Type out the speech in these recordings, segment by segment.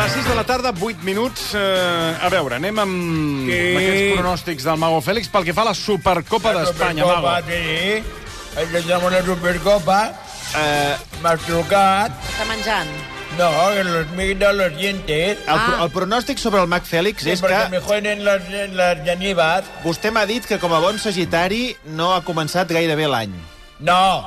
Les 6 de la tarda, 8 minuts. Eh, a veure, anem amb, Sí. amb aquests pronòstics del Mago Fèlix pel que fa a la Supercopa d'Espanya, Mago. Supercopa, sí. El que llamo la Supercopa. Eh, M'has trucat. Està menjant. No, que los miro los dientes. El, pro- Ah. el pronòstic sobre el Mac Fèlix Sí, és perquè que me joden las, las llanivas. vostè m'ha dit que com a bon sagitari no ha començat gaire bé l'any. No,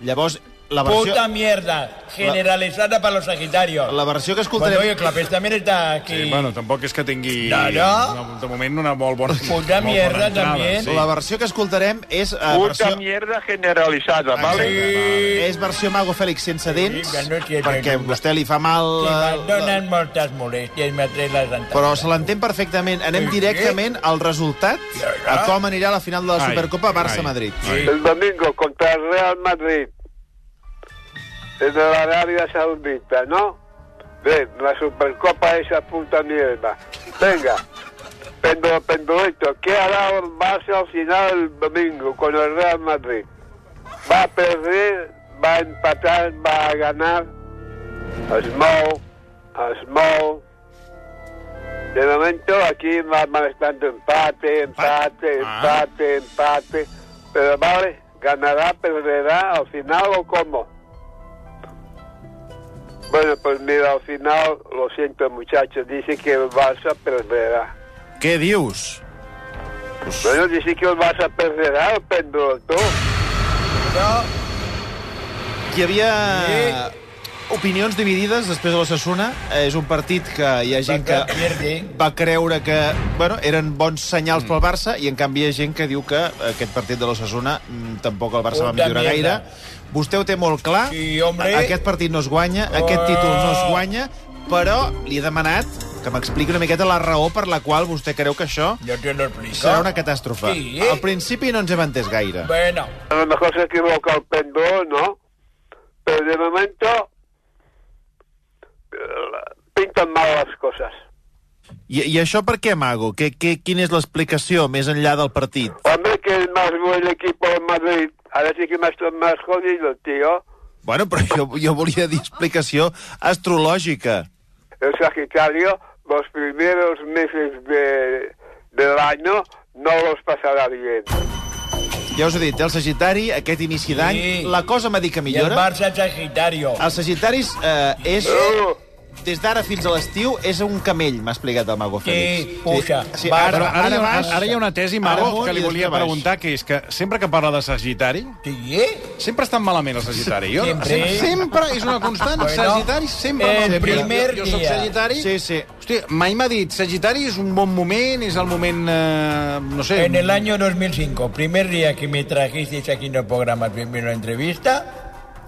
Llavors, la versió, puta mierda. Generalizada para los sagitarios. la versió que Bueno, oye, escoltarem... Clapés también está aquí. Sí, bueno, tampoc és que tingui... No, no. De moment, una molt bona... Puta molt mierda, bona entrada, també. Sí. La versió que escoltarem és, eh, Puta versió, mierda generalizada, ¿vale? Sí. és versió Mago Fèlix sense dents, Sí, que no tiene perquè a ninguna. vostè li fa mal... Sí, eh, me donen moltes molèsties, me trec les dentades. Però se l'entén perfectament. Anem Sí. directament al resultat, a com anirà la final de la Ai, Supercopa Barça-Madrid. ai. El domingo contra el Real Madrid. Desde la Arabia Saudita, ¿no? Ven, la Supercopa esa puta mierda. Venga. Pero, pero esto, ¿qué hará el Barça al final el domingo con el Real Madrid? ¿Va a perder? ¿Va a empatar? ¿Va a ganar? Small, small. De momento aquí va manejando empate, empate, empate, empate. Pero vale, ganará, perderá al final o cómo. Bueno, pues mira, al final, lo siento muchachos, dice que el Barça perderá. Què dius? Bueno, dice que el Barça perderá, el péndulo tú. Hi havia opinions dividides després de l'Ossassuna. Eh, És un partit que hi ha gent que Pierde. va creure que bueno, eren bons senyals Mm. pel Barça i en canvi hi ha gent que diu que aquest partit de l'Ossassuna mm, tampoc el Barça va Puta millorar gaire. mierda. Vostè ho té molt clar. Sí, hombre. A- Aquest partit no es guanya, aquest Oh. títol no es guanya, però li he demanat que m'expliqui una miqueta la raó per la qual vostè creu que això Yo te lo explico. serà una catàstrofe. Sí. Al principi no ens hem entès gaire. Bueno, A lo mejor se equivoca el péndulo, ¿no? Pero de momento eh, pintan mal las cosas. I, I això per què, Mago? Que, que, quina és l'explicació más enllà del partit? Hombre, que es más buen equipo de Madrid. Ahora sí que más, más jodido, tío. Bueno, però jo, jo volia dir explicació astrològica. El Sagitario, los primeros meses de, del año, no los pasará bien. Ja us he dit, el Sagitari, aquest inici d'any, Sí. la cosa m'ha dit y que el millora. Barça es Sagitario. El Sagitaris eh, és... Eh, Des d'ara fins a l'estiu és un camell, m'ha explicat el Mago Fèlix. puja, sí, va, ara, Però ara, ara, baix, ara hi ha una tesi, ara Mago, amunt que li i volia després baix. preguntar, que és que sempre que parla de Sagitari, Sí, eh? sempre estan malament els Sagitari. Jo, Sempre. sempre. sempre és una constant, Bueno, Sagitari sempre el malament. primer jo, jo soc dia. Sagitari, eh, Sí, sí. Hòstia, mai m'ha dit, Sagitari és un bon moment, és el moment, eh, no sé... En el año 2005, primer día que me trajisteis aquí en el programa, primero entrevista,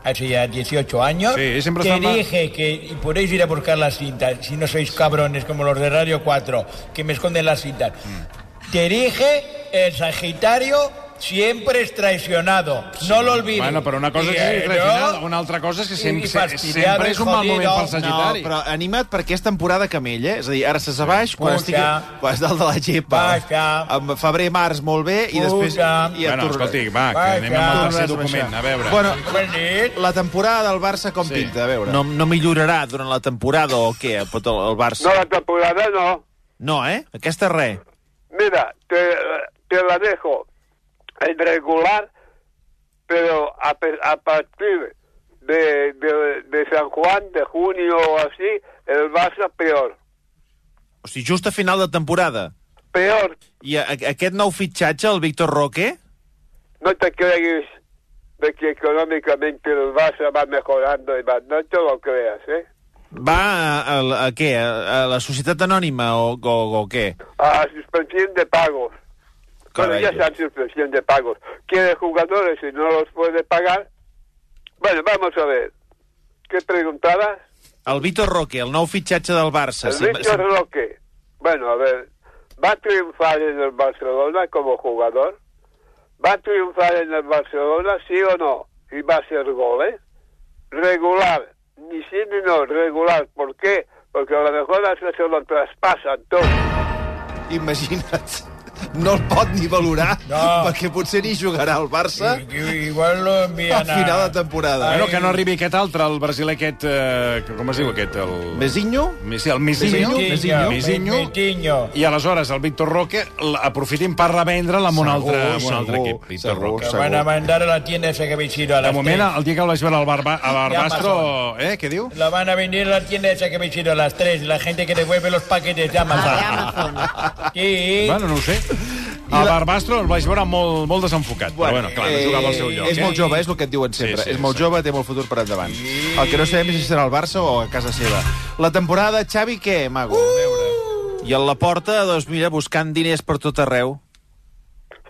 hacía 18 años, Sí, siempre te estaba- dije que y podéis ir a buscar las cintas, si no sois cabrones como los de Radio 4, que me esconden las cintas. Mm. Te dije, el Sagitario siempre es traicionado, no lo olvides. Bueno, però una cosa és que Eh, és ¿no? regional, una altra cosa és que I- sempre, i fastidiado, sempre és un mal moment pel jodido. No, Sagitari. però anima't perquè és temporada camell, eh? És a dir, ara estàs a baix, quan, Puja. estic, quan estàs dalt de la gepa. Baixa. En febrer, març, molt bé, i després... Puja. I et Bueno, tornaràs. escolti, va, que Va, anem ja. amb el Tornaràs tercer a document, baixar. a veure. Bueno, Ben dit. la temporada del Barça com Sí. pinta, a veure. No, no millorarà durant la temporada o què, pot el, el No, Barça? la temporada no. No, eh? Aquesta res. Mira, te, te la dejo en regular, pero a, pe- a partir de, de, de San Juan, de junio o así, el Barça peor. O sigui, just a final de temporada. Peor, I a, a, aquest nou fitxatge, el Víctor Roque, no te crees de que económicamente el Barça va mejorando y va, no te lo creas, ¿eh? va a, a, a què? A, a la societat anònima o, o, o què? A suspensión de pagos. Bueno, Caray, ya tú. están suspensión de pagos. Quiere jugadores y no los puede pagar. Bueno, vamos a ver. ¿Qué preguntabas? El Víctor Roque, el nou fitxatge del Barça. El Sem- Víctor sem- Roque. Bueno, a ver, va a triunfar en el Barcelona como jugador. Va a triunfar en el Barcelona, sí o no. Y va a ser goles. Regular. Ni sí ni no, regular. ¿Por qué? Porque a lo mejor a veces se lo traspasan todo. Imagina't. no el pot ni valorar, no. No. perquè potser ni jugarà al Barça. I- i- Igual lo A envían a... final de temporada. Bueno, eh, que no arribi aquest altre, el brasiler aquest... Eh, que- com es diu aquest? El... Mesinho? Sí, el Misinho. Mesinho. Misinho. Mesinho. I aleshores el Víctor Roque l- aprofitin per revendre-la amb un Segur, altre, amb un altre segur, equip. Víctor segur. Roque. Que van a mandar a la tienda esa que habéis ido a De las moment, tres. el dia que el vaig veure al Barba, a Barbastro... Eh, què diu? La van a vender a la tienda esa que habéis ido a las 3. La gente que devuelve los paquetes de Ah, Amazon. de Amazon. Sí. Bueno, no ho sé. A Barbastro el vaig veure molt, molt desenfocat. Però bueno, clar, no jugava al seu lloc. És eh? molt jove, és el que et diuen sempre. Sí, sí, és molt sí. jove, té molt futur per endavant. El que no sabem és si serà al Barça o a casa seva. La temporada, Xavi, què, mago? Uh! I a la porta, doncs mira, buscant diners per tot arreu.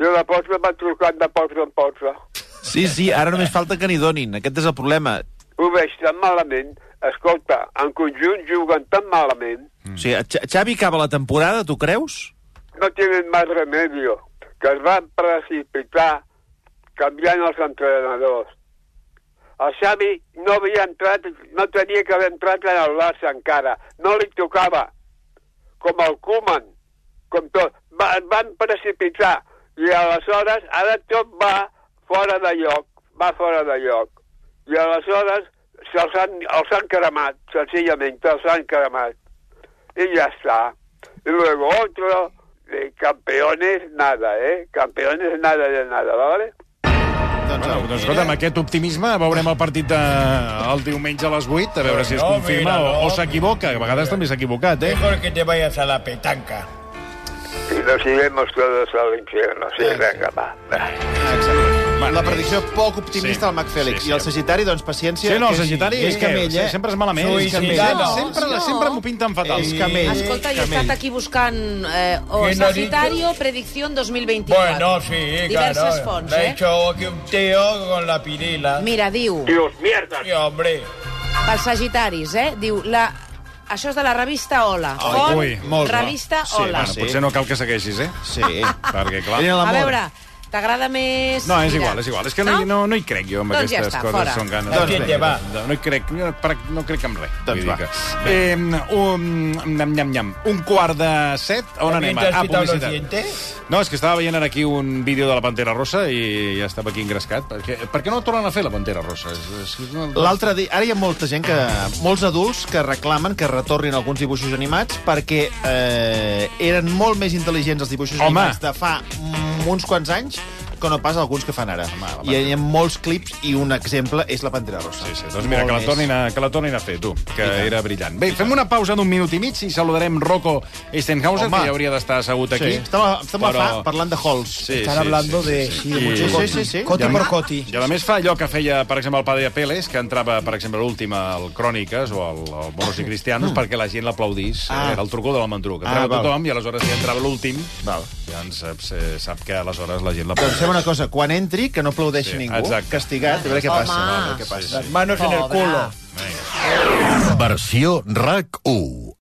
Jo la porta m'ha trucat de porta en porta. Sí, sí, ara només falta que n'hi donin. Aquest és el problema. Ho veig tan malament. Escolta, en conjunt juguen tan O sigui, malament. X- Mm. Xavi acaba la temporada, tu creus? No tienen más remedio. Que es van precipitar canviant els entrenadors. El Xavi no havia entrat, no tenia que haver entrat en el Barça encara. No li tocava. Com el Koeman. Com tot. Va, es van precipitar. I aleshores, ara tot va fora de lloc. Va fora de lloc. I aleshores se'ls han, els han cremat, senzillament, els han cremat. Y ya está. Y luego otro, de campeones, nada, ¿eh? Campeones, nada de nada, ¿vale? Doncs Bueno, doncs escolta, amb aquest optimisme veurem el partit de, el diumenge a les 8, a veure si es No, confirma mira, o, no. o s'equivoca. A vegades també s'ha equivocat, eh? Mejor que te vayas a la petanca. Y nos iremos todos al infierno. Sí, venga, va. Exacte. Bueno, La predicció poc sí, optimista del Mac Félix. sí, sí. I el Sagitari, doncs, paciència. Sí, no, el que és- Sagitari és és que camell, eh? sempre és malament. És camell. Suïcidant. No, Sempre, no. sempre m'ho pinten fatal. És camell. Escolta, jo he estat aquí buscant eh, o ¿Quién ha Sagitario, predicción 2024. Bueno, sí, Diverses claro. fonts, Lo ha eh? hecho aquí un tío con la pirila. Mira, diu, Dios, mierda. Sí, hombre. pels Sagitaris, eh? Diu, la... això és de la revista Hola. Ai, Font, ui, molt bo. revista Sí, Hola. Bueno, Sí. potser no cal que segueixis, eh? Sí. Perquè, clar... Era A l'amor. veure, t'agrada més... No, és Mira. igual, és igual. És que no, hi- no, no hi crec jo, amb Doncs ja aquestes està, coses. fora. Són ganes. Doncs vinga, va. No, no hi crec, no, prac- no crec en res. Doncs Vull dir va. que- Eh, un, nyam, nyam, nyam. un quart de set, on anem? ¿También te has Ah, quitado los publicitat. dientes? No, és que estava veient ara aquí un vídeo de la Pantera Rossa i ja estava aquí engrescat. Per què, per què no tornen a fer la Pantera Rossa? És, és, és una... L'altre dia... Ara hi ha molta gent que... Molts adults que reclamen que retornin alguns dibuixos animats perquè eh, eren molt més intel·ligents els dibuixos Home. animats de fa mm, uns quants anys que no pas alguns que fan ara. la I hi ha molts clips i un exemple és la Pantera Rosa. Sí, sí. Doncs mira, que la, tornin a, que la tornin a fer, tu, que era brillant. Bé, fem una pausa d'un minut i mig i saludarem Rocco Eisenhauser, Home. que ja hauria d'estar assegut aquí. Sí, estem a, estem a Però- fa parlant de Halls. Sí, Están sí, hablando sí, de... sí, sí. sí, de I- mucho Sí, coti. sí, sí. Coti I a por mi- coti. I a més fa allò que feia, per exemple, el padre Apeles, que entrava, per exemple, a l'última al Cròniques o al, al Moros i Cristianos perquè la gent l'aplaudís. Ah. Hmm. Ah. Era el truco de l'Almandruc. Ah, Entrava ah, val. tothom i aleshores ja entrava l'últim. Val. Ja en saps, eh, sap que aleshores la gent Doncs l'aplaudís. fem una cosa, quan entri, que no aplaudeixi Sí, ningú. exacte. Castigat, a veure què Home. passa. A veure què passa. Las manos en el Cobra. culo. Vinga. Versió RAC 1.